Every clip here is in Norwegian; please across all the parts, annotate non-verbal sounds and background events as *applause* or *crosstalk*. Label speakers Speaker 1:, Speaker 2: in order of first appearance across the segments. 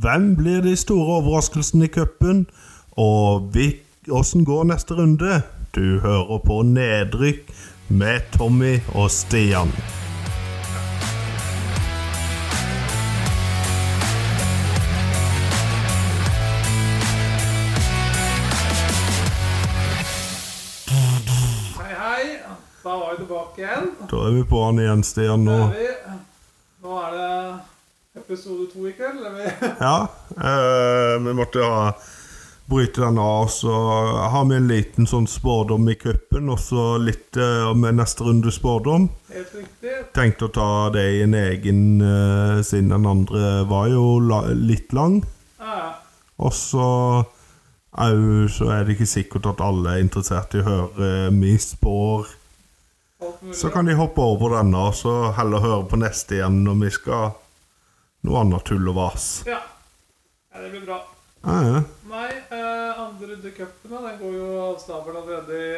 Speaker 1: Hvem blir de store overraskelsene i cupen? Og åssen går neste runde? Du hører på Nedrykk med Tommy og Stian.
Speaker 2: Hei, hei. Da var vi tilbake igjen.
Speaker 1: Da er vi på han igjen, Stian.
Speaker 2: Nå
Speaker 1: Nå.
Speaker 2: er, vi. Nå er det episode to i kveld. Eller *laughs* vi
Speaker 1: Ja, eh, vi måtte ha, bryte den av, så har vi en liten sånn spådom i cupen, og så litt eh, med neste runde spådom.
Speaker 2: helt riktig.
Speaker 1: Tenkte å ta det i en egen, eh, siden den andre var jo la, litt lang.
Speaker 2: Ja,
Speaker 1: Og så au, så er det ikke sikkert at alle er interessert i å høre vi spår.
Speaker 2: alt mulig.
Speaker 1: Så kan de hoppe over denne, og så heller høre på neste igjen når vi skal noe annet tull og vas.
Speaker 2: Ja. ja, det blir bra.
Speaker 1: Ja, ja.
Speaker 2: Nei, eh, andre runde i cupen da, den går jo av stabelen allerede i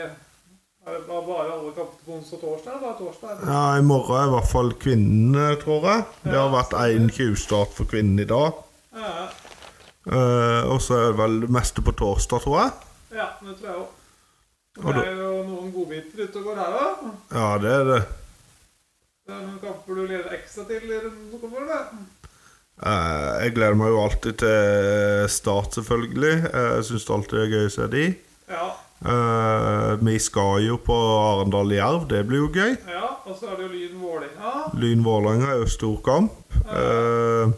Speaker 2: er det bare bare alle kampene på onsdag og torsdag? Bare torsdag? er det?
Speaker 1: Ja, I morgen er i hvert fall kvinnene, tror jeg. Det har vært én 20-start for kvinnene i dag.
Speaker 2: Ja,
Speaker 1: Eh, og så er det vel det meste på torsdag, tror jeg.
Speaker 2: ja, det tror jeg òg.
Speaker 1: Og
Speaker 2: Det er jo noen godbiter ute og går her òg.
Speaker 1: Ja, det er det.
Speaker 2: Det er noen kamper du leder ekstra til i runden som kommer. eller?
Speaker 1: Eh, jeg gleder meg jo alltid til start, selvfølgelig. Eh, jeg syns det alltid er gøy å se de.
Speaker 2: Ja.
Speaker 1: Eh, vi skal jo på Arendal-Jerv, det blir jo gøy.
Speaker 2: ja. Og så er det jo Lyn Vålerenga.
Speaker 1: Lyn-Vålerenga er jo stor kamp. Eh,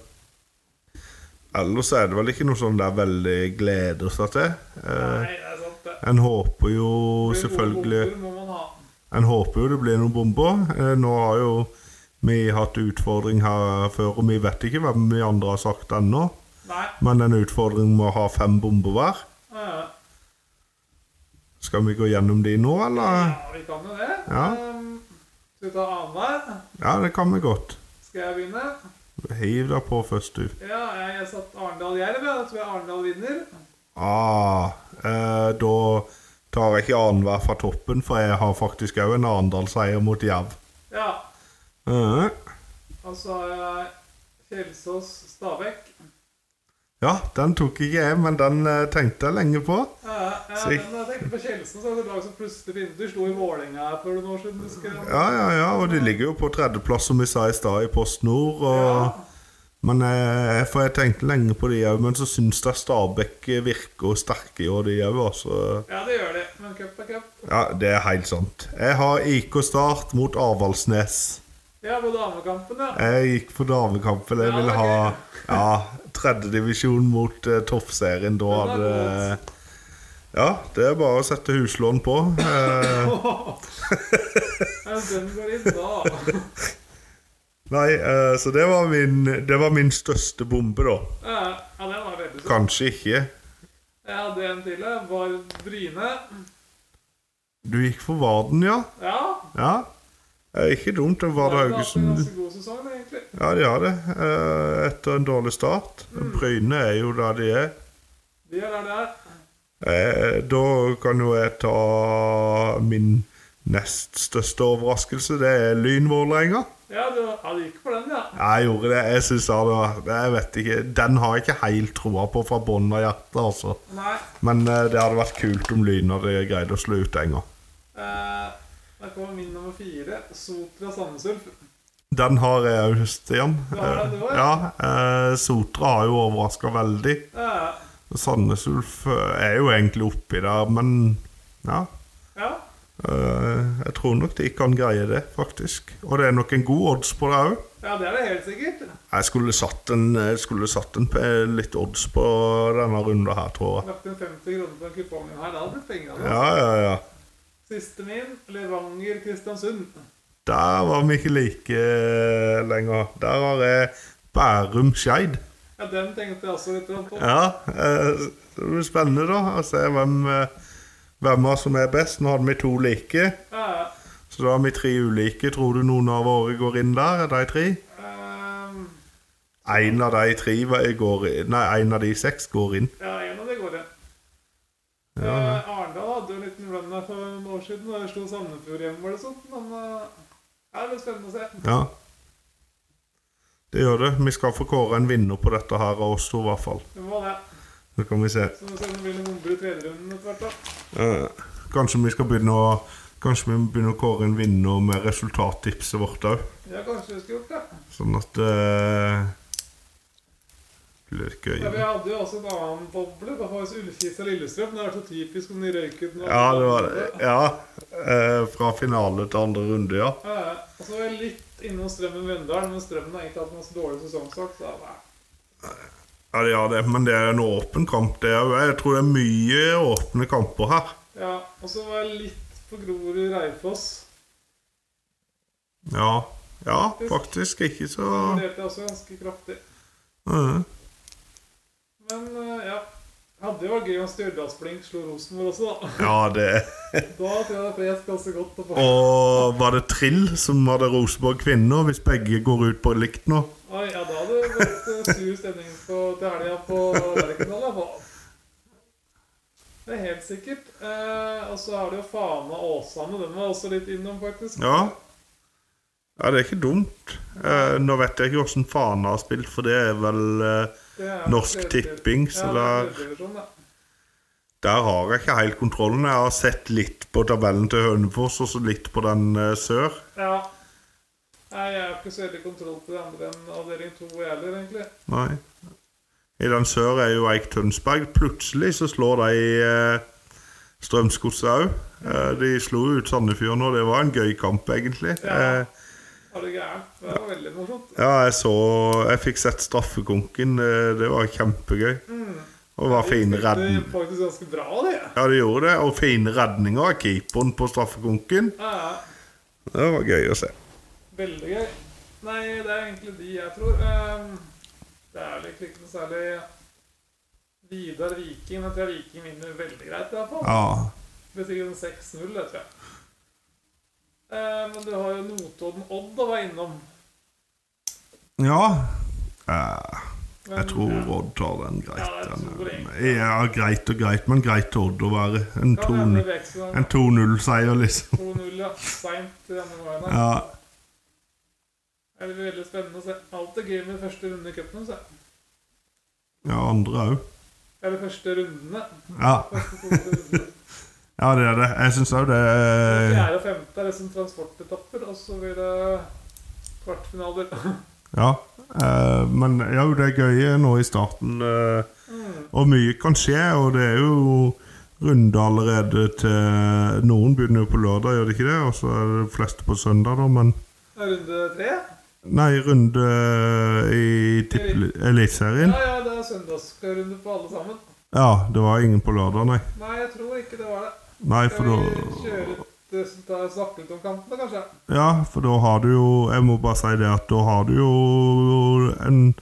Speaker 1: ellers er det vel ikke noe sånn der veldig gleder seg til. Eh,
Speaker 2: Nei, det er sant, det.
Speaker 1: en håper jo
Speaker 2: Hvor
Speaker 1: selvfølgelig
Speaker 2: Hvor må man ha?
Speaker 1: En håper jo det blir noen bomber. Eh, Nå har jo vi hatt utfordring her før, og vi vet ikke hvem vi andre har sagt ennå.
Speaker 2: Nei.
Speaker 1: Men en utfordring med å ha fem bomber hver.
Speaker 2: eh,
Speaker 1: Skal vi gå gjennom de nå, eller?
Speaker 2: Ja, vi kan jo det.
Speaker 1: Ja.
Speaker 2: Ehm, skal vi ta annenhver?
Speaker 1: Ja, det kan vi godt.
Speaker 2: Skal jeg begynne?
Speaker 1: Hiv deg på først, du.
Speaker 2: Ja, jeg har satt Arendal-Jerv. ja. Da tror jeg Arendal vinner.
Speaker 1: Ah, eh, da tar jeg ikke annenhver fra toppen, for jeg har faktisk òg en Arendal-seier mot Jerv.
Speaker 2: Ja.
Speaker 1: Eh,
Speaker 2: Og så har jeg Kjelsås-Stabæk.
Speaker 1: ja, den tok ikke jeg, men den eh, tenkte jeg lenge på.
Speaker 2: Ja, ja,
Speaker 1: Sikkert.
Speaker 2: men jeg tenkte på Kjelsen, så er det et lag som plutselig begynte. De slo i Vålerenga her for noen år siden. husker jeg.
Speaker 1: Ja, ja, ja, og de ligger jo på tredjeplass, som vi sa i stad, i Post Nord. Og,
Speaker 2: Ja.
Speaker 1: Men eh, for jeg tenkte lenge på de òg, men så syns jeg Stabæk virker sterke i år, de òg. Altså.
Speaker 2: ja, det gjør de. Men cup er cup.
Speaker 1: Ja, det er helt sant. Jeg har IK Start mot Avaldsnes.
Speaker 2: Ja, på damekampen, ja.
Speaker 1: Jeg gikk for damekampen. Jeg
Speaker 2: Ja,
Speaker 1: ville
Speaker 2: ok.
Speaker 1: ha ja, tredjedivisjon mot eh, toppserien. Da
Speaker 2: Den er
Speaker 1: hadde eh, Ja, det er bare å sette huslån på. Eh,
Speaker 2: Ja, Den går inn da.
Speaker 1: nei, eh, så det var, min, det var min største bombe, da.
Speaker 2: Ja, ja, den var veldig søt.
Speaker 1: Kanskje ikke.
Speaker 2: Jeg hadde en til, jeg. Vard Bryne.
Speaker 1: Du gikk for Varden, ja?
Speaker 2: Ja.
Speaker 1: Ja. Eh, ikke dumt. Det var
Speaker 2: Vard
Speaker 1: det
Speaker 2: har hatt en
Speaker 1: Haugesund.
Speaker 2: ganske god sesong, egentlig.
Speaker 1: Ja, de har det. Eh, Etter en dårlig start. Bryne er jo der de er.
Speaker 2: De er der de er.
Speaker 1: Eh, Da kan jo jeg ta min nest største overraskelse. Det er Lyn-Vålerenga.
Speaker 2: Ja, du ja, du gikk for den, ja.
Speaker 1: Jeg gjorde det. Jeg synes det var Jeg vet ikke. Den har jeg ikke helt troa på fra bunnen av hjertet, altså.
Speaker 2: Nei.
Speaker 1: Men eh, det hadde vært kult om Lyn hadde greid å slå ut Enga.
Speaker 2: Eh, der kommer min nummer fire. Sotra Sandnesulf.
Speaker 1: Den har jeg òg, Stian.
Speaker 2: Du har den, du også,
Speaker 1: ja, eh, Sotra har jo overraska veldig.
Speaker 2: Eh,
Speaker 1: Sandnes Ulf eh, er jo egentlig oppi der, men ja.
Speaker 2: ja.
Speaker 1: eh, Jeg tror nok de kan greie det, faktisk. Og det er nok en god odds på det òg.
Speaker 2: ja, det er det helt sikkert.
Speaker 1: Jeg skulle satt en, jeg skulle satt en pe- litt odds på denne runden her, tror jeg.
Speaker 2: Lagt inn 50 kroner på en kupong her. Da hadde det blitt penger av det.
Speaker 1: Ja, ja, ja.
Speaker 2: Siste min. Levanger-Kristiansund.
Speaker 1: Der var vi ikke like eh, lenger. Der har jeg Bærum Skeid.
Speaker 2: Ja, den tenkte jeg også litt på.
Speaker 1: Ja, eh, det blir spennende da å se hvem, eh, hvem av oss som er best. Nå hadde vi to like,
Speaker 2: Eh,
Speaker 1: så da har vi tre ulike. Tror du noen av våre går inn der, de tre?
Speaker 2: ehm,
Speaker 1: En av de tre var- går inn, nei, en av de seks går inn.
Speaker 2: Ja, en av de går igjen.
Speaker 1: Ja,
Speaker 2: Eh, Arendal hadde jo en liten run her for noen år siden. Da de slo sånn? Sandefjord hjemme eller sånt. Men eh, ja, det blir spennende å se.
Speaker 1: Ja. Det gjør det. Vi skal få kåre en vinner på dette her av oss to, i hvert fall.
Speaker 2: Det må det.
Speaker 1: Så kan vi se.
Speaker 2: Så nå ser det blir noen bomber i tredjerunden etter hvert. da.
Speaker 1: Eh, kanskje vi skal begynne å Kanskje vi må begynne å kåre en vinner med resultattipset vårt òg.
Speaker 2: Ja, kanskje vi skulle gjort det.
Speaker 1: Sånn at eh, Blir det gøy?
Speaker 2: Ja, vi hadde jo også en annen boble. Det var jo Ullkisa Lillestrøm. Det er så typisk om de røyk ut nå.
Speaker 1: Ja, det var det. Ja. eh, fra finale til andre runde, ja.
Speaker 2: Ja, ja. Og så var jeg litt innom Strømmen Vendalen, men Strømmen har ikke hatt noen så dårlig sesongsak. Så nei.
Speaker 1: Ja, det er det, men det er en åpen kamp. Det er, jeg tror det er mye åpne kamper her.
Speaker 2: ja, og så var jeg litt på Grorud Raufoss.
Speaker 1: Ja, ja faktisk ikke så
Speaker 2: Det delte jeg også ganske kraftig.
Speaker 1: eh,
Speaker 2: Men eh, ja. Hadde jo vært gøy om Stjørdalsblink slo Rosenborg også, da.
Speaker 1: Ja, det
Speaker 2: Da tror jeg det pes ganske godt. å få-
Speaker 1: Og var det Trill som hadde Rosenborg kvinner, hvis begge går ut på likt nå?
Speaker 2: Oi, ja, da hadde det vært eh, sur stemning på, til helga på Lerkendal. da, faen. Det er helt sikkert. Eh, og så er det jo Fana og Åsane. Den var også litt innom, faktisk.
Speaker 1: Ja. Ja, det er ikke dumt. Eh, nå vet jeg ikke hvordan Fana har spilt, for det er vel eh,
Speaker 2: Det er
Speaker 1: Norsk
Speaker 2: tredje-
Speaker 1: Tipping, så
Speaker 2: ja,
Speaker 1: det er-
Speaker 2: det er tredjedivisjon, da.
Speaker 1: Der har jeg ikke helt kontrollen. Jeg har sett litt på tabellen til Hønefoss, og så litt på den eh, sør.
Speaker 2: Ja. Nei, jeg har ikke så veldig kontroll på det andre enn avdeling to jeg heller, egentlig.
Speaker 1: Nei. I den sør er jo Eik Tønsberg. Plutselig så slår de eh, Strømsgodset òg. Eh, de slo jo ut Sandefjord nå. Det var en gøy kamp, egentlig.
Speaker 2: Ja.
Speaker 1: Eh,
Speaker 2: Er du gæren? Det var veldig morsomt.
Speaker 1: Ja, jeg så Jeg fikk sett straffekonken. eh, Det var kjempegøy. Og var fine
Speaker 2: Mm. Det
Speaker 1: redning.
Speaker 2: gikk faktisk ganske bra, det.
Speaker 1: Ja, det gjorde det. Og fine redninger av keeperen på straffekonken.
Speaker 2: Ja, ja.
Speaker 1: Det var gøy å se.
Speaker 2: Veldig gøy. Nei, det er egentlig de jeg tror. Ehm, Det er vel ikke noe særlig Vidar Viking. Jeg tror Viking vinner veldig greit, i hvert fall.
Speaker 1: Ja.
Speaker 2: Det blir sikkert en 6-0, det tror jeg. Ehm, Men du har jo Notodden Odd å være innom.
Speaker 1: ja. Eh,
Speaker 2: Men,
Speaker 1: Jeg tror Odd tar den greit.
Speaker 2: Ja, jeg tror det.
Speaker 1: Den, eh, Ja, greit og greit, men greit til Odd å være. En
Speaker 2: Ja, det
Speaker 1: 2-0
Speaker 2: er Vekseln.
Speaker 1: en 2-0-seier, liksom.
Speaker 2: 2-0, ja. Seint i denne gangen. her.
Speaker 1: Ja.
Speaker 2: Det blir veldig spennende å se. Alt er gøy med første runde i cupen. så.
Speaker 1: ja andre òg.
Speaker 2: Eller første rundene.
Speaker 1: Ja.
Speaker 2: Første to rundene.
Speaker 1: ja, det er det. Jeg syns òg det er-
Speaker 2: Fjerde og femte er liksom transportetapper, og så blir det kvartfinaler. *laughs*
Speaker 1: Ja. eh, Men ja, det er gøy nå i starten. eh,
Speaker 2: Mm.
Speaker 1: Og mye kan skje, og det er jo runde allerede til Noen begynner jo på lørdag, gjør det ikke det? Og så er det de fleste på søndag, da, men
Speaker 2: Runde tre?
Speaker 1: Nei, runde eh, i tippel- Eliteserien.
Speaker 2: Ja, ja, det er søndagsrunde på alle sammen.
Speaker 1: Ja, det var ingen på lørdag, nei.
Speaker 2: Nei, jeg tror ikke det var det.
Speaker 1: Nei, for
Speaker 2: Skal vi
Speaker 1: da
Speaker 2: kjøre ut eh, så ta- snakke litt om kampene, kanskje?
Speaker 1: Ja, for da har du jo Jeg må bare si det at da har du jo en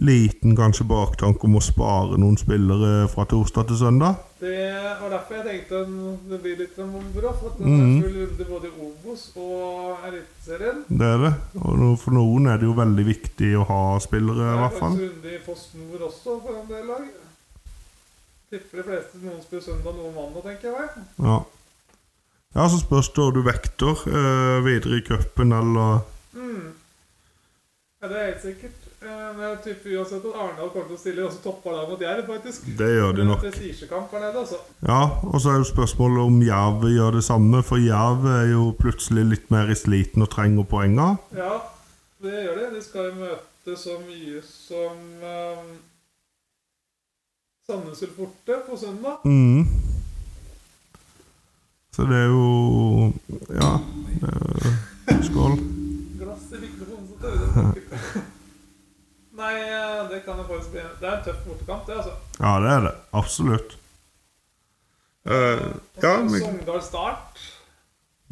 Speaker 1: liten kanskje baktanke om å spare noen spillere fra torsdag til søndag.
Speaker 2: Det var derfor jeg tenkte en- det blir litt en bomber. da, For at det
Speaker 1: Mhm.
Speaker 2: er full runde både i Obos og Eliteserien.
Speaker 1: Det er det. Og nå- for noen er det jo veldig viktig å ha spillere, i
Speaker 2: Det er
Speaker 1: hvert fall.
Speaker 2: faktisk runde i Post Nord også for en del lag. Tipper de fleste noen spiller søndag, noen mandag, tenker jeg. vel.
Speaker 1: Ja. ja, så spørs det om du vekter eh, videre i cupen, eller
Speaker 2: Mm. Ja, det er helt sikkert. Eh, Men jeg tipper uansett at Arendal kommer til å stille også toppa lag mot Jerv, faktisk.
Speaker 1: Det gjør de nok.
Speaker 2: Prestisjekamp her nede, altså.
Speaker 1: Ja, og så er jo spørsmålet om Jerv gjør det samme, for Jerv er jo plutselig litt mer i sliten og trenger poenga.
Speaker 2: Ja, det gjør de. De skal jo møte så mye som um, Sandnes Ulf borte på søndag.
Speaker 1: Mm. Så det er jo Ja. Det er, skål.
Speaker 2: Glass i mikrofonen så tørre det *laughs* ikke. Nei, eh, det kan det faktisk bli. Det er en tøff bortekamp, det, altså.
Speaker 1: Ja, det er det. Absolutt. Eh,
Speaker 2: Og
Speaker 1: ja,
Speaker 2: så
Speaker 1: men
Speaker 2: Sogndal Start.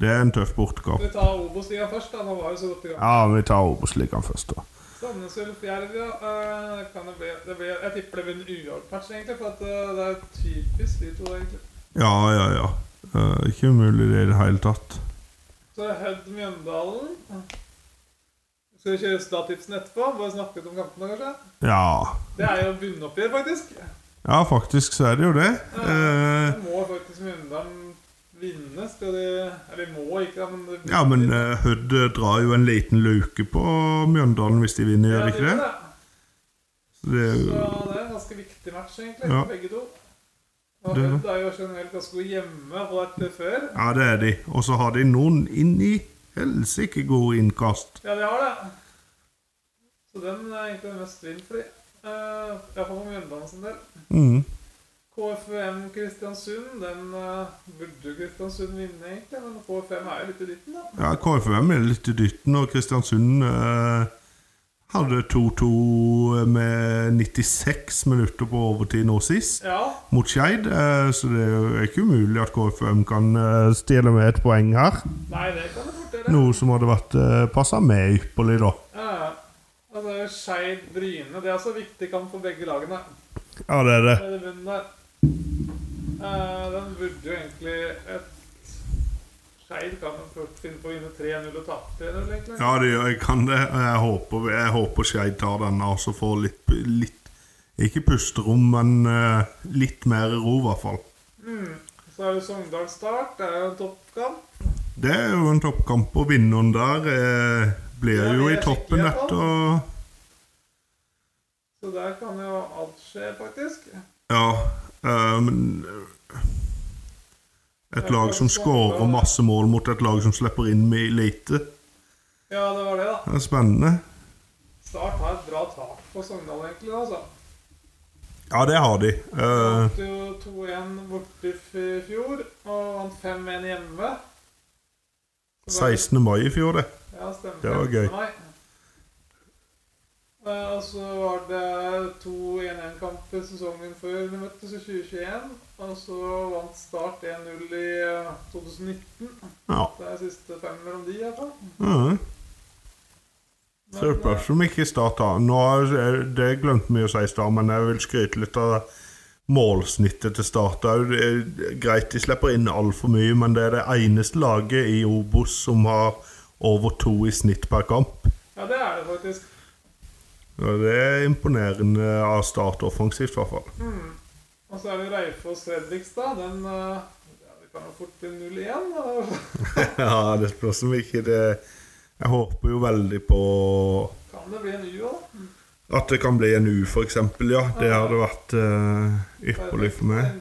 Speaker 1: det er en tøff bortekamp.
Speaker 2: Vi tar Obos-ligaen først. da, Nå var jo så godt i gang.
Speaker 1: Ja, vi tar Obos-ligaen først, da.
Speaker 2: Sandnes Ulf Jerv, ja. eh, kan det bli, det blir- jeg tipper det blir en uavgjort match, egentlig. For at eh, det er typisk de to, egentlig.
Speaker 1: Ja, ja, ja. Eh, ikke umulig det i det hele tatt.
Speaker 2: Så er det Hødd Mjøndalen. Skal vi kjøre Statipsen etterpå? Bare snakke litt om kampene, kanskje?
Speaker 1: Ja.
Speaker 2: Det er jo bunnoppgjør, faktisk.
Speaker 1: ja, faktisk så er det jo det.
Speaker 2: Ja.
Speaker 1: Eh,
Speaker 2: Nå må faktisk Mjøndalen vinne. Skal de Eller de må ikke, da, men de,
Speaker 1: Ja, men eh, Hødd eh, drar jo en liten luke på Mjøndalen hvis de vinner,
Speaker 2: Ja,
Speaker 1: gjør
Speaker 2: de
Speaker 1: de ikke
Speaker 2: gjør
Speaker 1: det? Så det er
Speaker 2: Så
Speaker 1: jo
Speaker 2: det er en ganske viktig match, egentlig,
Speaker 1: Ja.
Speaker 2: for begge to. Og
Speaker 1: Det er
Speaker 2: Hødd er jo generelt ganske god hjemme, og vært det før.
Speaker 1: Ja, det er de. Og så har de noen inn i helsike gode innkast.
Speaker 2: Ja, de har det. Så den er egentlig den mest vinn for de. Uh, Iallfall for Mjøndalen sin del.
Speaker 1: Mm.
Speaker 2: KFUM Kristiansund, den eh, burde Kristiansund vinne, egentlig. Men KFUM er jo litt i dytten, da.
Speaker 1: Ja, KFUM er litt i dytten, og Kristiansund eh, hadde 2-2 med 96 minutter på overtid nå sist
Speaker 2: Ja,
Speaker 1: mot Skeid, eh, så det er jo ikke umulig at KFUM kan eh, stjele med et poeng her.
Speaker 2: nei, det kan det fort gjøre.
Speaker 1: Noe som hadde vært eh, passa meg ypperlig, da.
Speaker 2: Ja, altså, Skeid-Bryne, det er også viktig kamp for begge lagene.
Speaker 1: Ja, det er det.
Speaker 2: Nede i bunnen der. Eh, den burde jo egentlig et Skeid kan jo fort finne på å vinne 3-0 og tape 3-0, egentlig.
Speaker 1: Ja, det gjør jeg kan det. og Jeg håper, jeg håper Skeid tar denne og så får litt, litt Ikke pusterom, men eh, litt mer ro, i hvert fall.
Speaker 2: Så er det Sogndal Start. Det er jo en toppkamp.
Speaker 1: Det er jo en toppkamp, og vinneren der eh, blir
Speaker 2: Ja,
Speaker 1: jo i
Speaker 2: det er
Speaker 1: toppen
Speaker 2: skikkelig,
Speaker 1: etter og
Speaker 2: Så der kan jo alt skje, faktisk.
Speaker 1: Ja. eh, men eh, Et lag som skårer masse mål mot et lag som slipper inn med lite.
Speaker 2: Ja, det var det, da.
Speaker 1: Det er spennende.
Speaker 2: Start har et bra tak på Sogndal, egentlig. da, altså.
Speaker 1: Ja, det har de. Eh,
Speaker 2: Vant jo 2-1 borte i f- fjor, og vant 5-1 hjemme. Så var det-
Speaker 1: 16. mai i fjor, det.
Speaker 2: Ja, stemmer.
Speaker 1: Det var gøy.
Speaker 2: Nei. Eh, Og så var det to 1-1-kamper sesongen før de møttes i 2021. Og så vant Start 1-0 i eh, 2019.
Speaker 1: Ja.
Speaker 2: Det er siste fem mellom de, iallfall.
Speaker 1: Mhm. Så det spørs om ikke Start har Nå har Det glemte vi å si i stad, men jeg vil skryte litt av målsnittet til Start òg. eh, Greit de slipper inn altfor mye, men det er det eneste laget i Obos som har over to i snitt per kamp.
Speaker 2: Ja, det er det faktisk.
Speaker 1: Og Det er imponerende av Start offensivt, i hvert fall.
Speaker 2: Og så er det Reifoss-Fredrikstad. Den eh, ja, Det kan jo fort bli 0-1. da.
Speaker 1: *laughs*
Speaker 2: *laughs*
Speaker 1: ja, det spørs om ikke det Jeg håper jo veldig på
Speaker 2: Kan det bli en U òg?
Speaker 1: at det kan bli en U, f.eks. Ja, det hadde vært eh, ypperlig for meg.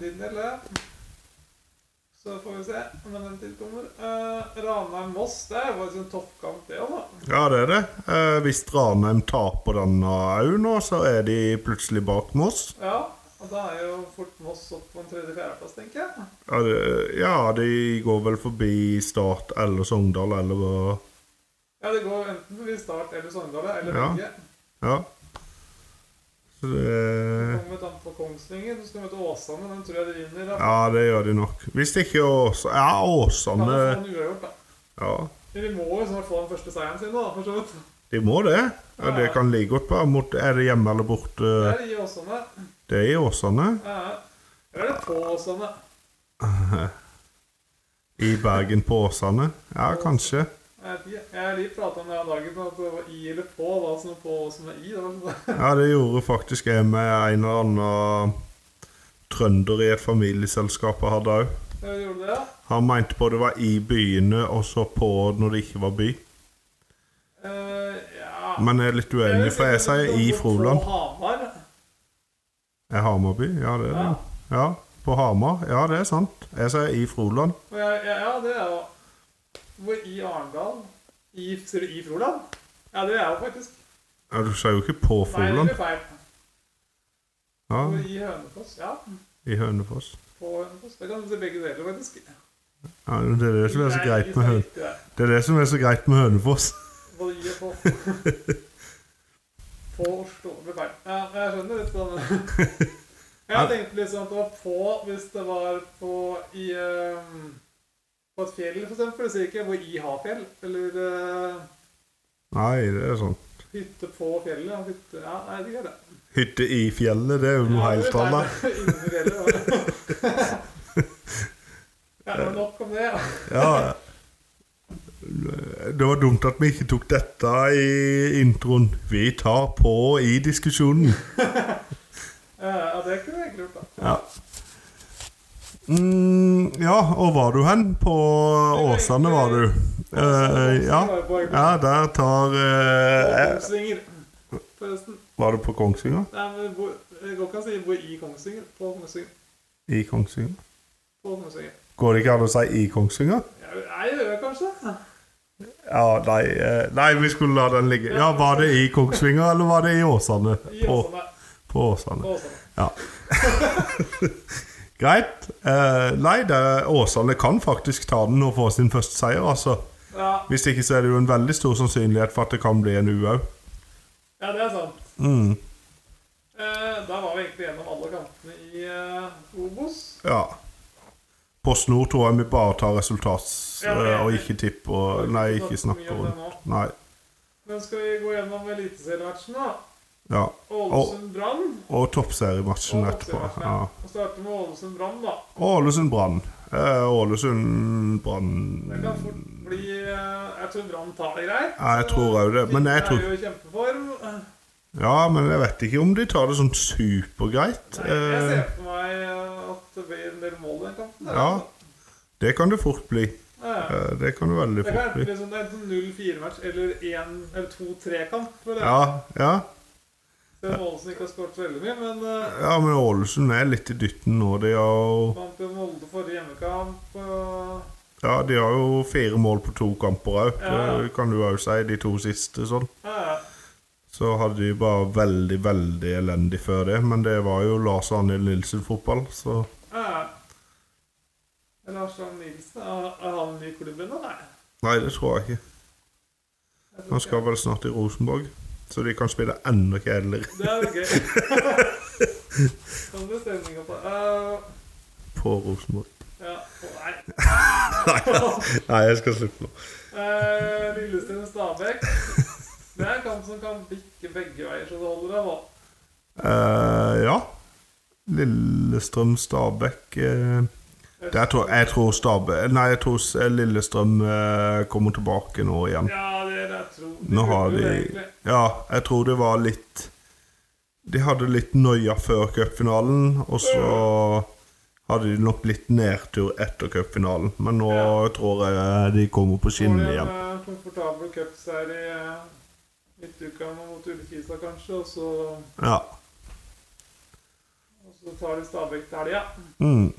Speaker 2: Så får vi se når den tid kommer. Eh, Ranheim-Moss, det er jo faktisk en toppkamp, det òg, da.
Speaker 1: Ja, det er det. Eh, hvis Ranheim taper denne òg nå, så er de plutselig bak Moss.
Speaker 2: Ja, og da er jo fort Moss opp på en tredje-fjerdeplass, tenker jeg.
Speaker 1: Ja, det- Ja, de går vel forbi Start eller Sogndal eller
Speaker 2: Ja, det går enten forbi Start eller Sogndal, eller
Speaker 1: Ja.
Speaker 2: begge.
Speaker 1: Ja. Så det
Speaker 2: Kommer vi an på Kongsvinger, så skal vi møte Åsane. Den tror jeg de vinner. da.
Speaker 1: Ja, det gjør de nok. Hvis ikke Åsane Ja, eh,
Speaker 2: Kan jo få
Speaker 1: Åsane
Speaker 2: en uavgjort, da.
Speaker 1: Ja,
Speaker 2: Men de må jo snart få den første seieren sin, da, for så vidt.
Speaker 1: de må det. Ja, det kan like godt være mot Er det hjemme eller
Speaker 2: Det
Speaker 1: borte?
Speaker 2: er de Åsane.
Speaker 1: Det er i Åsane.
Speaker 2: Ja, ja. Eller er det på Åsane?
Speaker 1: I Bergen på Åsane. Ja, kanskje.
Speaker 2: Jeg vet ikke. Jeg har lige prata om det her dagen, at det var i eller på. Da, så noe på som er i. Det var sånn. *laughs*
Speaker 1: Ja, det gjorde faktisk jeg med en eller annen trønder i et familieselskap jeg hadde òg.
Speaker 2: Ja, vi gjorde det, ja.
Speaker 1: Han mente på det var i byene og så på når det ikke var by.
Speaker 2: Eh, ja.
Speaker 1: Men jeg er litt uenig, for jeg sier i Froland.
Speaker 2: På Hamar.
Speaker 1: Er Hamarby? Ja, det er det. Ja, på Hamar. Ja, det er sant. Jeg sier i Froland.
Speaker 2: Og jeg, ja, ja, det er jo Hvor i Arendal? I, sier du i Froland? Ja, det er jo faktisk
Speaker 1: Ja, du sier jo ikke på
Speaker 2: Nei, det
Speaker 1: Froland.
Speaker 2: blir feil.
Speaker 1: Ja,
Speaker 2: Hvor i Hønefoss? Ja,
Speaker 1: i Hønefoss.
Speaker 2: på Hønefoss. Det kan du se begge deler, faktisk.
Speaker 1: Ja, men det er det som er så greit med Hønefoss.
Speaker 2: Hønefoss.
Speaker 1: Det er det som er så greit med Hønefoss.
Speaker 2: Både i og på. På Oslo. Det blir feil. Ja, jeg skjønner litt sånn Jeg tenkte liksom at det var på hvis det var på i eh, På et fjell, for eksempel. Så ikke hvor i Hafjell. Eller eh,
Speaker 1: Nei, det er sånn.
Speaker 2: hytte på fjellet. Ja, hytte, ja nei, det er det.
Speaker 1: Hytte i fjellet, det er jo noe
Speaker 2: *laughs*
Speaker 1: helt annet.
Speaker 2: annet. Ja, men nok om det.
Speaker 1: Ja. Det var dumt at vi ikke tok dette i introen. Vi tar på i diskusjonen.
Speaker 2: Eh, Ja, det kunne jeg egentlig gjort, da.
Speaker 1: Ja. Mm, ja, og var du hen? På Åsane var du. Eh, ja. ja, der tar eh, eh,
Speaker 2: Kongsvinger. Forresten.
Speaker 1: Var du på Kongsvinger?
Speaker 2: Nei, men hvor, jeg går ikke an å si hvor i Kongsvinger. På Kongsvinger.
Speaker 1: I Kongsvinger?
Speaker 2: På Kongsvinger.
Speaker 1: Går det ikke an å si i Kongsvinger?
Speaker 2: Ja, Nei, det gjør jeg kanskje.
Speaker 1: Ja, nei, eh, nei, vi skulle la den ligge. Ja, Var det i Kongsvinger, eller var det i Åsane?
Speaker 2: I
Speaker 1: På,
Speaker 2: Åsane.
Speaker 1: på Åsane.
Speaker 2: På Åsane.
Speaker 1: Ja. *laughs* Greit. Eh, nei, det, Åsane kan faktisk ta den og få sin første seier, altså.
Speaker 2: Ja,
Speaker 1: Hvis ikke så er det jo en veldig stor sannsynlighet for at det kan bli en U òg.
Speaker 2: ja, det er sant.
Speaker 1: Mm.
Speaker 2: Eh, da var vi egentlig gjennom alle kantene i eh, Obos.
Speaker 1: Ja. På snor tror jeg vi bare tar resultat
Speaker 2: Ja,
Speaker 1: eh,
Speaker 2: ja.
Speaker 1: og ikke tipper og- Nei, ikke snakker
Speaker 2: om det
Speaker 1: rundt.
Speaker 2: nå.
Speaker 1: Nei.
Speaker 2: Men skal vi gå gjennom eliteseriematchen, da?
Speaker 1: Ja. Og,
Speaker 2: Ålesund-Brann.
Speaker 1: og toppseriematchen
Speaker 2: Og
Speaker 1: etterpå.
Speaker 2: toppseriematchen,
Speaker 1: Ja.
Speaker 2: Vi starter med Ålesund-Brann, da.
Speaker 1: Ålesund-Brann. Eh, Ålesund-Brann
Speaker 2: Det kan fort bli eh, Jeg tror Brann tar det greit.
Speaker 1: Ja, jeg tror også det, men jeg
Speaker 2: Finn
Speaker 1: tror-
Speaker 2: er jo i kjempeform. Eh,
Speaker 1: Ja, men jeg vet ikke om de tar det sånn supergreit.
Speaker 2: Nei, jeg
Speaker 1: Eh,
Speaker 2: ser for meg eh, at det blir en del mål i den kampen.
Speaker 1: ja. Det kan det fort bli.
Speaker 2: Ja.
Speaker 1: Eh, det kan det veldig
Speaker 2: Det kan
Speaker 1: fort
Speaker 2: enten
Speaker 1: bli.
Speaker 2: bli sånn enten 0-4-match eller 1- eller 2-3-kamp. Ja.
Speaker 1: Ja, ja.
Speaker 2: Ålesund ikke har skåret veldig mye, men eh,
Speaker 1: ja, men Ålesund er litt i dytten nå. De har jo
Speaker 2: vant jo Molde forrige hjemmekamp. eh,
Speaker 1: Ja, de har jo fire mål på to kamper òg,
Speaker 2: Ja.
Speaker 1: det kan du òg si. De to siste sånn.
Speaker 2: ja, ja.
Speaker 1: Så hadde de bare veldig, veldig elendig før det, men det var jo Lars Arne Nilsen-fotball, så
Speaker 2: Ja. Lars Arne Nilsen, er er han ny i klubben nå? Nei.
Speaker 1: Nei, det tror jeg ikke.
Speaker 2: Jeg tror
Speaker 1: Han skal vel snart til Rosenborg, så de kan spille enda kjedeligere *laughs*
Speaker 2: ikke. Det er jo gøy. Kan du stemninga på Eh,
Speaker 1: på Rosenborg.
Speaker 2: Ja. Å, nei.
Speaker 1: Nei, jeg skal slutte nå.
Speaker 2: Eh, Lillestrøm-Stabæk. Det er en kamp som kan bikke begge veier, så det holder, da. hva?
Speaker 1: Eh, ja. Lillestrøm-Stabæk eh, der tror, Jeg tror Stabæk Nei, jeg tror s- Lillestrøm eh, kommer tilbake nå igjen.
Speaker 2: Ja, det er det jeg tror.
Speaker 1: Nå har
Speaker 2: burde jo
Speaker 1: de
Speaker 2: egentlig-
Speaker 1: Ja, jeg tror det var litt De hadde litt nøya før cupfinalen, og så hadde de nok litt nedtur etter cupfinalen. Men nå
Speaker 2: Ja.
Speaker 1: tror jeg de kommer på
Speaker 2: Får
Speaker 1: skinnet
Speaker 2: de en
Speaker 1: igjen.
Speaker 2: eh, komfortabel cupseier i eh, midtuka nå mot Ullkisa, kanskje, og så,
Speaker 1: Ja.
Speaker 2: og så tar de Stabæk til helga.
Speaker 1: Mm.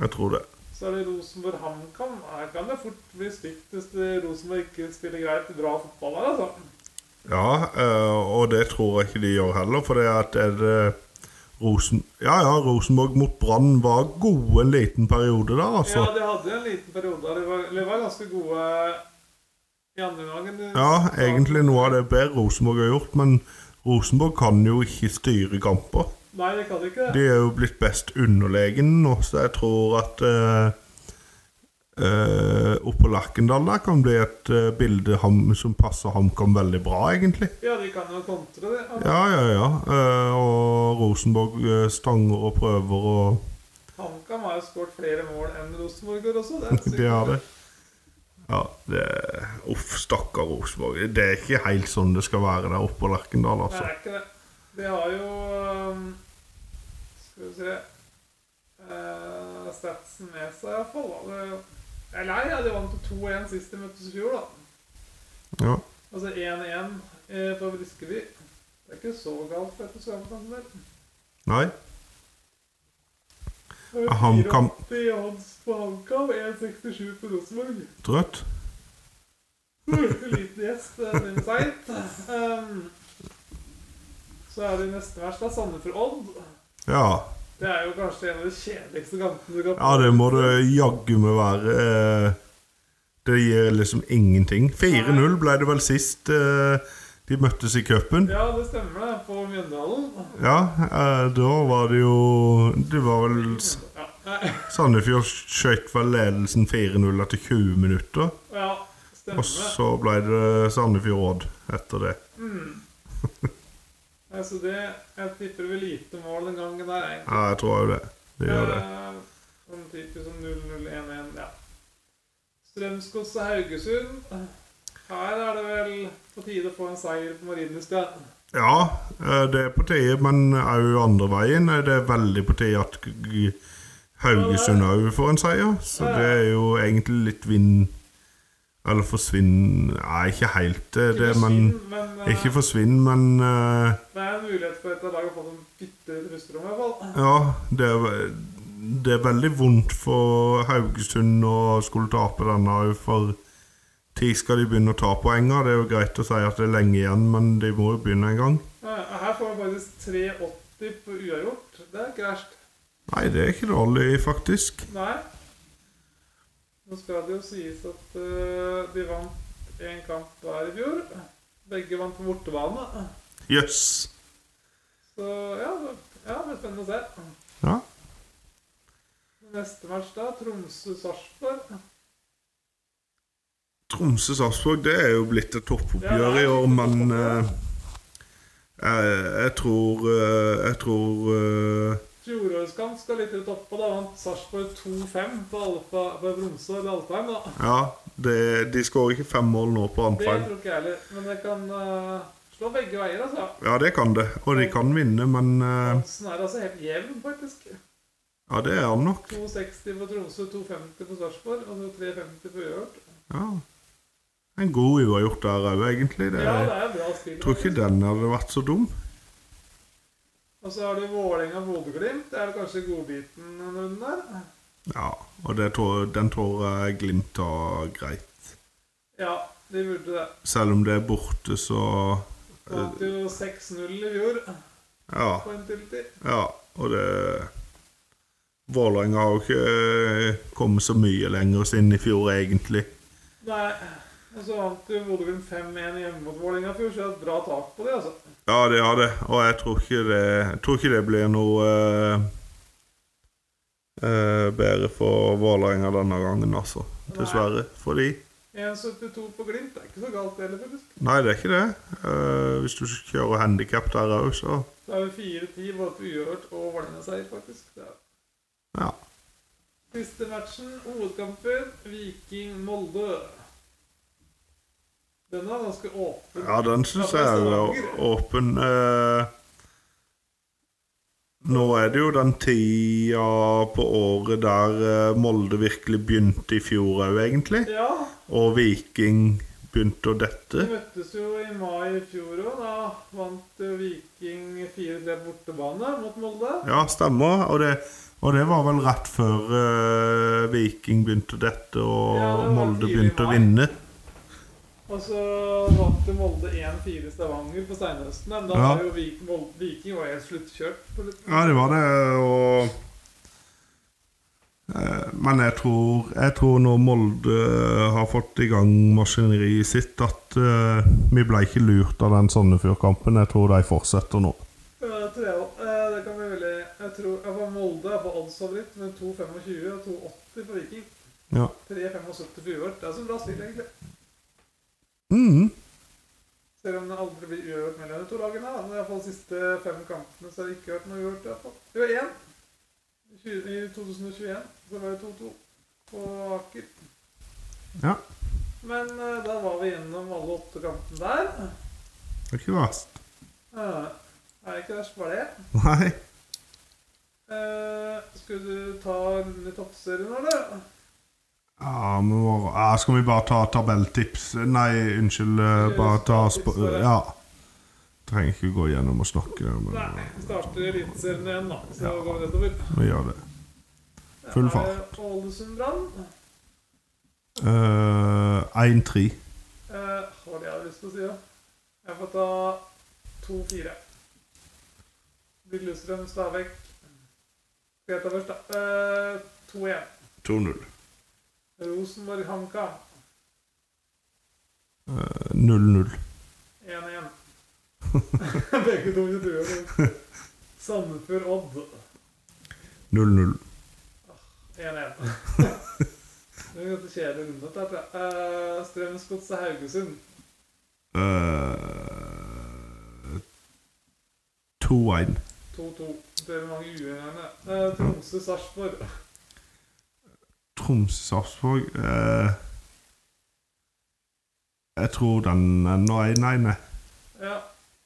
Speaker 1: Jeg tror det.
Speaker 2: Så er det Rosenborg HamKam. Her kan det fort bli stygt hvis det- Rosenborg ikke spiller greit bra fotball her, altså.
Speaker 1: Ja, eh, og det tror jeg ikke de gjør heller, for det at er det Rosen... Ja, ja, Rosenborg mot Brann var gode en liten periode der, altså.
Speaker 2: Ja, de hadde en liten periode der de var, de var ganske gode i andre gangen.
Speaker 1: Ja, egentlig noe av det bedre Rosenborg har gjort, men Rosenborg kan jo ikke styre kamper.
Speaker 2: Nei, de kan ikke det.
Speaker 1: De er jo blitt best underlegen nå, så jeg tror at eh, eh, oppå Lerkendal der kan bli et eh, bilde ham, som passer HamKam veldig bra, egentlig.
Speaker 2: Ja, de Altså, kan jo kontre, det. Ja.
Speaker 1: Ja, ja, ja. Eh, og Rosenborg eh, stanger og prøver og
Speaker 2: HamKam har jo skåret flere mål enn Rosenborg gjør også. Det er
Speaker 1: *laughs*
Speaker 2: sykt.
Speaker 1: De har det. Ja, det Uff, stakkar Rosenborg. Det er ikke helt sånn det skal være der oppå Lerkendal,
Speaker 2: Nei,
Speaker 1: altså.
Speaker 2: det er ikke det. De har jo ehm, Skal vi se eh, Statsen med seg, iallfall. Eller nei, ja, de vant jo 2-1 sist de møttes i fjor, da.
Speaker 1: Ja.
Speaker 2: Altså 1-1 eh, på Briskeby. Det er ikke så galt, dette svømmekampen der.
Speaker 1: Nei.
Speaker 2: Det er
Speaker 1: HamKam.
Speaker 2: 4,80 i odds på HamKam, 1,67 på Rosenborg.
Speaker 1: Drøtt.
Speaker 2: Liten gjest, eh, men seint. Ehm, så er det neste vers, da. Sandefjord Odd.
Speaker 1: Ja.
Speaker 2: Det er jo kanskje en av de kjedeligste kampene du kan
Speaker 1: Ja, det må det jaggu meg være. eh, Det gir liksom ingenting. 4-0 ble det vel sist eh, de møttes i cupen.
Speaker 2: Ja, det stemmer, det. På Mjøndalen.
Speaker 1: Ja, eh, da var det jo Det var vel S-
Speaker 2: Ja. eh,
Speaker 1: Sandefjord skjøt vel ledelsen 4-0 etter 20 minutter.
Speaker 2: ja,
Speaker 1: Og
Speaker 2: stemmer det.
Speaker 1: så ble det Sandefjord Odd etter det.
Speaker 2: Altså det, Jeg tipper det blir lite mål den gangen der. Jeg.
Speaker 1: Ja, jeg tror jo det. Det gjør det.
Speaker 2: Eh, Sånn typisk som 0-0-1-1, ja. Strømsgods og Haugesund. Her er det vel på tide å få en seier på Marienlyst, ja.
Speaker 1: Ja, eh, det er på tide, men òg andre veien. er Det er veldig på tide at g- g- Haugesund òg får en seier, så det er jo egentlig litt vinn Eller forsvinn Nei, ikke helt eh, det, det men
Speaker 2: Forsvinn, men, eh,
Speaker 1: Ikke forsvinn, men eh,
Speaker 2: Det er en mulighet for et av lagene å få noen bitte pusterom, i hvert fall.
Speaker 1: Ja, det er, ve- det er veldig vondt for Haugesund å skulle tape denne òg, for tid skal de begynne å ta poenger. Det er jo greit å si at det er lenge igjen, men de må jo begynne en gang.
Speaker 2: Ja, Eh, Her får vi faktisk 3,80 på uavgjort. Det er ikke verst.
Speaker 1: Nei, det er ikke dårlig, faktisk.
Speaker 2: Nei. Nå skal det jo sies at eh, de vant én kamp hver i fjor. Begge vant på bortebane.
Speaker 1: Jøss. Yes.
Speaker 2: Så ja, det ja, det blir spennende å se.
Speaker 1: Ja.
Speaker 2: Neste match da, Tromsø-Sarpsborg.
Speaker 1: Tromsø-Sarpsborg, det er jo blitt et toppoppgjør i år, men eh, jeg, jeg tror eh, Jeg tror eh,
Speaker 2: Fjorårskamp skal litt ut oppå. Da vant Sarpsborg 2-5 på, Alfa, på Tromsø eller Alfheim. da.
Speaker 1: Ja, det, de skårer ikke fem mål nå på
Speaker 2: Det
Speaker 1: Andfjell.
Speaker 2: tror ikke jeg heller. Men det kan eh, slå begge veier, altså.
Speaker 1: Ja, det kan det. Og de kan vinne, men eh,
Speaker 2: Hansen er altså helt jevn, faktisk.
Speaker 1: Ja, det er han nok.
Speaker 2: 2,60 på Tromsø, 2,50 på Sarpsborg og så 3,50 på Uørt.
Speaker 1: Ja. En god uavgjort der òg, egentlig. Det,
Speaker 2: Ja, det er bra spill.
Speaker 1: jeg tror ikke den hadde vært så dum.
Speaker 2: Og så har du Vålerenga og Bodø-Glimt. Det er vel kanskje godbiten en runde der?
Speaker 1: Ja, og det tror, den tror jeg Glimt tar greit.
Speaker 2: Ja, de burde det.
Speaker 1: Selv om det er borte, så
Speaker 2: De Vant
Speaker 1: Eh,
Speaker 2: jo 6-0 i fjor
Speaker 1: Ja.
Speaker 2: på en tilti.
Speaker 1: ja og det Vålerenga har jo ikke eh, kommet så mye lenger siden i fjor, egentlig.
Speaker 2: Nei. Og så vant jo Bodø-Glimt 5-1 hjemme mot Vålerenga i fjor, så det er et bra tak på det, altså.
Speaker 1: Ja, det har det. Og jeg tror ikke det, jeg tror ikke det blir noe eh, eh, bedre for Vålerenga denne gangen, altså. Dessverre. For de.
Speaker 2: 1,72 på Glimt. Det er ikke så galt heller, faktisk.
Speaker 1: Nei, det er ikke det. Eh, hvis du kjører handikap der òg, så
Speaker 2: Da er vi 4-10 både på Uørt og Vålerenga-seier, faktisk. Det er.
Speaker 1: ja.
Speaker 2: Siste matchen, hovedkampen, Viking-Molde. Den er ganske åpen.
Speaker 1: ja den syns jeg er å- åpen. eh. nå er det jo den tida på året der eh, Molde virkelig begynte i fjor òg, egentlig.
Speaker 2: Ja,
Speaker 1: Og Viking begynte å
Speaker 2: de
Speaker 1: dette.
Speaker 2: møttes jo i mai i fjor òg. Da vant eh, Viking 4-3 bortebane mot Molde.
Speaker 1: Ja, stemmer. Og det, og det var vel rett før eh, Viking begynte å dette, og
Speaker 2: Ja, det var
Speaker 1: Molde
Speaker 2: tidlig i
Speaker 1: begynte å
Speaker 2: mai.
Speaker 1: vinne.
Speaker 2: Og så vant jo Molde 1-4 i Stavanger på Steinhøsten. Men da
Speaker 1: Ja.
Speaker 2: var jo Viking, Molde, Viking var helt sluttkjørt. på slutten.
Speaker 1: Ja, det var det, og eh, Men jeg tror, jeg tror når Molde eh, har fått i gang maskineriet sitt, at eh, vi ble ikke lurt av den Sandefjord-kampen. Jeg tror de fortsetter nå.
Speaker 2: Eh, tre- eh, Det kan bli veldig Jeg tror jeg var Molde er på oddsfavoritt med 2,25 og 2,80 for Viking.
Speaker 1: Ja.
Speaker 2: 3,75 for uørt. Det er så bra spill, egentlig.
Speaker 1: Mhm.
Speaker 2: Selv om det aldri blir uavgjort mellom de to lagene. da. Men i hvert fall de siste fem kampene så har det ikke vært noe uavgjort. i hvert fall. Det var én I tjue- i 2021. Så var det 2-2 på Aker.
Speaker 1: ja.
Speaker 2: Men eh, da var vi gjennom alle åtte kampene der.
Speaker 1: Det er ikke verst.
Speaker 2: Eh, er ikke verst bare det.
Speaker 1: Nei.
Speaker 2: Eh, skulle du ta runden i toppserien, eller?
Speaker 1: Ja, men hva- ja, skal vi bare ta tabelltips Nei, unnskyld. eh, Bare ta sp Ja. Trenger ikke gå gjennom og snakke. Men
Speaker 2: Nei. Vi starter Eliteserien igjen, da. Så går vi nedover.
Speaker 1: vi gjør det. Full fart.
Speaker 2: Det er Ålesund Brann.
Speaker 1: Eh, 1-3.
Speaker 2: Eh, hva var det jeg hadde lyst til å si, da? Jeg får ta 2-4. Lillestrøm, Stabæk. Skal jeg ta først, da? Eh, 2-1.
Speaker 1: 2-0.
Speaker 2: Rosenborg, HamKa.
Speaker 1: Eh, 0-0.
Speaker 2: 1-1. *laughs* Begge to i duoen. Sandefjord, Odd.
Speaker 1: 0-0.
Speaker 2: 1-1. Det er en ganske kjedelig runde, dette. her, tror jeg. Eh, Strømsgodset, Haugesund.
Speaker 1: Eh, 2-1.
Speaker 2: 2-2. Det er mange uenige. Eh, Tromsø, Sarpsborg.
Speaker 1: Tromsø-Sarpsborg eh, Jeg tror den ender 1-1. jeg.
Speaker 2: Ja.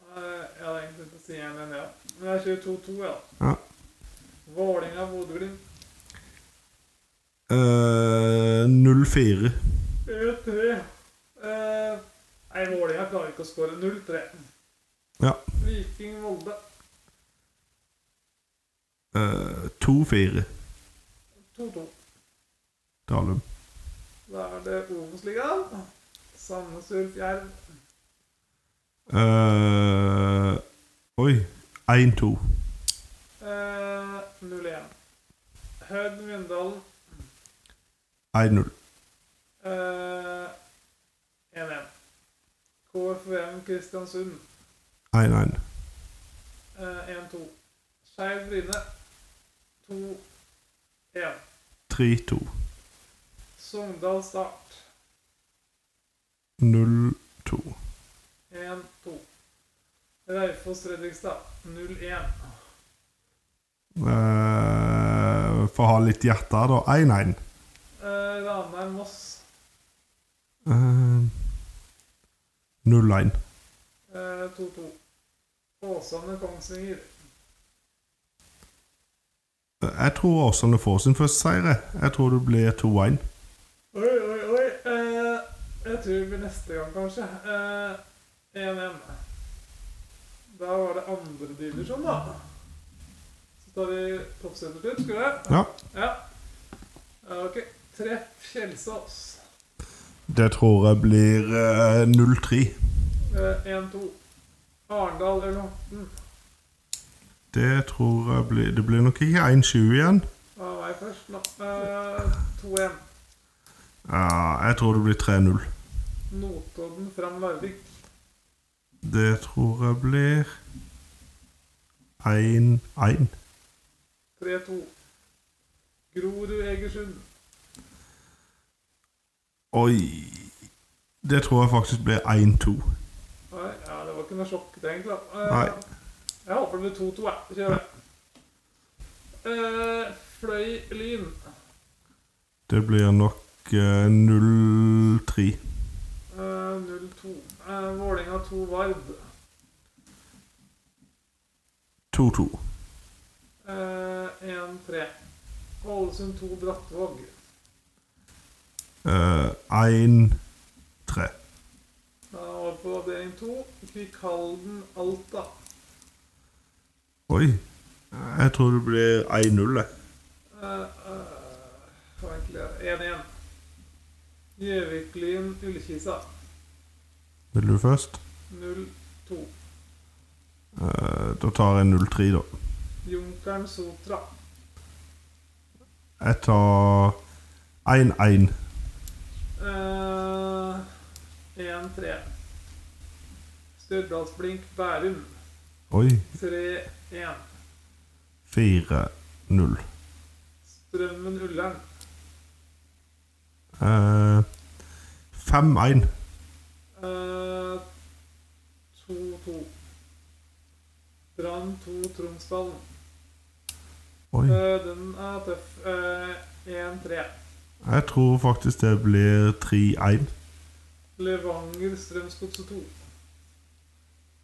Speaker 2: eh, Jeg hadde egentlig ikke si 1-1, ja. Men jeg kjører 2-2, ja.
Speaker 1: Ja.
Speaker 2: Vålinga, Bodø-Glimt.
Speaker 1: Eh, 0-4.
Speaker 2: 3 Eh, Nei, Vålerenga klarer ikke å skåre 0-3.
Speaker 1: Ja.
Speaker 2: Viking Molde
Speaker 1: Eh, 2-4.
Speaker 2: 2-2.
Speaker 1: Dalum.
Speaker 2: Da er det Obos-ligaen. Sandnesur Fjerd
Speaker 1: Eh, oi. 1-2.
Speaker 2: eh, 0-1. Hødd Myndalen
Speaker 1: 1-0.
Speaker 2: eh, 1-1. KFUM Kristiansund
Speaker 1: 1-1.
Speaker 2: eh, 1-2. Skeiv Bryne 2-1.
Speaker 1: 3-2.
Speaker 2: Sogndal Start
Speaker 1: 0-2.
Speaker 2: 1-2. Raufoss Fredrikstad 0-1.
Speaker 1: Eh, Får ha litt hjerte, da. 1-1.
Speaker 2: Eh, Ranheim Moss
Speaker 1: Eh, 0-1.
Speaker 2: eh, 2-2. Åsane Kongsvinger
Speaker 1: Jeg tror Åsane får sin første seier. jeg. Jeg tror det blir 2-1.
Speaker 2: Oi, oi, oi. Eh, jeg tror det blir neste gang, kanskje. Eh, 1-1. Da var det andre divisjon, da. Så tar vi toppsetet til, skulle det?
Speaker 1: Ja,
Speaker 2: Ja. Eh, Ok. Treff Kjelsås.
Speaker 1: det tror jeg blir eh, 0-3.
Speaker 2: Eh, 1-2. Arendal Ølhorten.
Speaker 1: Det tror jeg blir Det blir nok ikke 1-7 igjen.
Speaker 2: Det var meg først, nå. Eh, 2-1.
Speaker 1: Ja, jeg tror det blir 3-0.
Speaker 2: Notodden fram Larvik.
Speaker 1: Det tror jeg blir 1-1.
Speaker 2: 3-2. Grorud Egersund.
Speaker 1: Oi Det tror jeg faktisk blir 1-2.
Speaker 2: Nei, ja, det var ikke noe sjokk, det, egentlig. da. Eh,
Speaker 1: Nei.
Speaker 2: Jeg håper det blir 2-2, jeg. Vi Kjører. Eh, fløy Lyn.
Speaker 1: Det blir nok eh, 0-3.
Speaker 2: Eh, 0-2. Eh, Vålerenga 2 Vard.
Speaker 1: 2-2.
Speaker 2: Eh, 1-3. Ålesund 2 Brattvåg.
Speaker 1: Eh, 1-3.
Speaker 2: Da var vi på avdeling 2. Kvikkhalden Alta.
Speaker 1: Oi. Jeg tror det blir 1-0, jeg.
Speaker 2: Eh, eh, hva egentlig er det? 1-1. Gjøvik-Lyn Ullkisa.
Speaker 1: Vil du først?
Speaker 2: 0-2.
Speaker 1: Eh, da tar jeg 0-3, da.
Speaker 2: Junkeren Sotra.
Speaker 1: Jeg tar 1-1.
Speaker 2: Eh, 1-3. Stjørdalsblink Bærum
Speaker 1: Oi.
Speaker 2: 3-1.
Speaker 1: 4-0.
Speaker 2: Strømmen Ullern
Speaker 1: Eh, 5-1.
Speaker 2: eh, 2-2. Brann 2 Tromsdalen.
Speaker 1: Oi.
Speaker 2: Eh, den er tøff. Eh, 1-3.
Speaker 1: Jeg tror faktisk det blir 3-1.
Speaker 2: Levanger Strømsgodset 2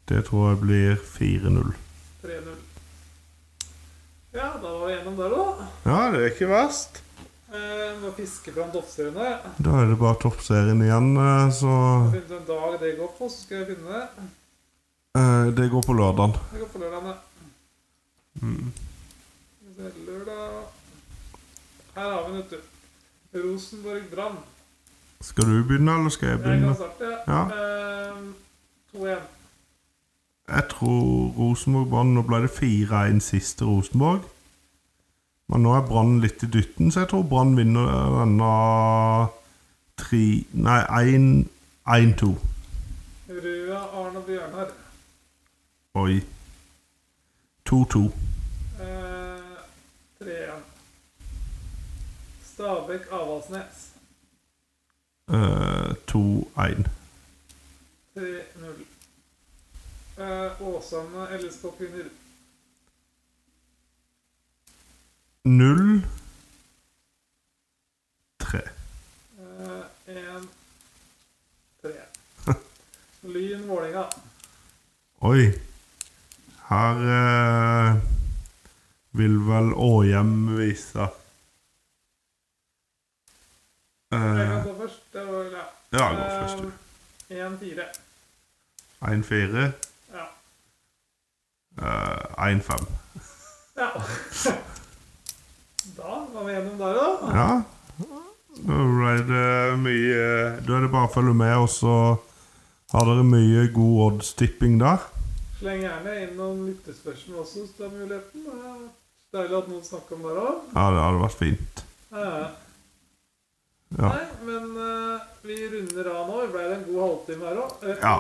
Speaker 1: Det tror jeg blir 4-0.
Speaker 2: 3-0. Ja, da var vi gjennom der òg.
Speaker 1: Ja, det er ikke verst.
Speaker 2: Eh, må fiske fram toppseriene.
Speaker 1: Da er det bare toppserien igjen, eh, så
Speaker 2: Finne en dag det går på, så skal jeg finne det.
Speaker 1: eh, Det går på lørdagen.
Speaker 2: Det går på lørdagene. Skal vi se, Lørdag Her har vi den, vet du. Rosenborg Brann.
Speaker 1: Skal du begynne, eller skal jeg
Speaker 2: Jeg kan
Speaker 1: begynne?
Speaker 2: starte.
Speaker 1: Ja.
Speaker 2: Ehm, 2-1.
Speaker 1: Jeg tror Rosenborg Brann Nå ble det 4-1 siste Rosenborg. Men nå er Brann litt i dytten, så jeg tror Brann vinner denne 3 Nei, 1-2.
Speaker 2: Røa Arne Bjørnar.
Speaker 1: Oi. 2-2.
Speaker 2: Eh, 3-1. Stabæk Avaldsnes.
Speaker 1: Eh, 2-1.
Speaker 2: 3-0. Eh, Åsane LSK Kvinner.
Speaker 1: 0-3.
Speaker 2: Eh, 1-3.
Speaker 1: *laughs*
Speaker 2: Lyn Vålerenga.
Speaker 1: Oi. Her eh, vil vel Åhjem vise
Speaker 2: Jeg kan
Speaker 1: Eh,
Speaker 2: gå først. Det var, ja.
Speaker 1: Ja, gå først, du.
Speaker 2: 1-4.
Speaker 1: 1-4.
Speaker 2: Ja.
Speaker 1: eh, 1-5.
Speaker 2: ja. *laughs* Da var vi gjennom der, da.
Speaker 1: Ja. Da ble det mye Da er det bare å følge med, og så har dere mye god oddstipping der.
Speaker 2: Sleng gjerne inn noen lyttespørsmål også, hvis du har muligheten. Det er Deilig at noen snakker om det òg.
Speaker 1: Ja, det hadde vært fint.
Speaker 2: Ja.
Speaker 1: Ja.
Speaker 2: Nei, men eh, vi runder av nå. Vi ble det en god halvtime her Eh, òg.
Speaker 1: Ja.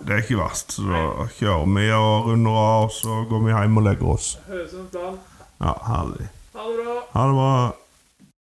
Speaker 1: Det er ikke verst. Så da kjører vi og runder av, og så går vi hjem og legger oss.
Speaker 2: Høres ut som en plan.
Speaker 1: Ja, herlig.
Speaker 2: Ha det bra.
Speaker 1: Ha det bra.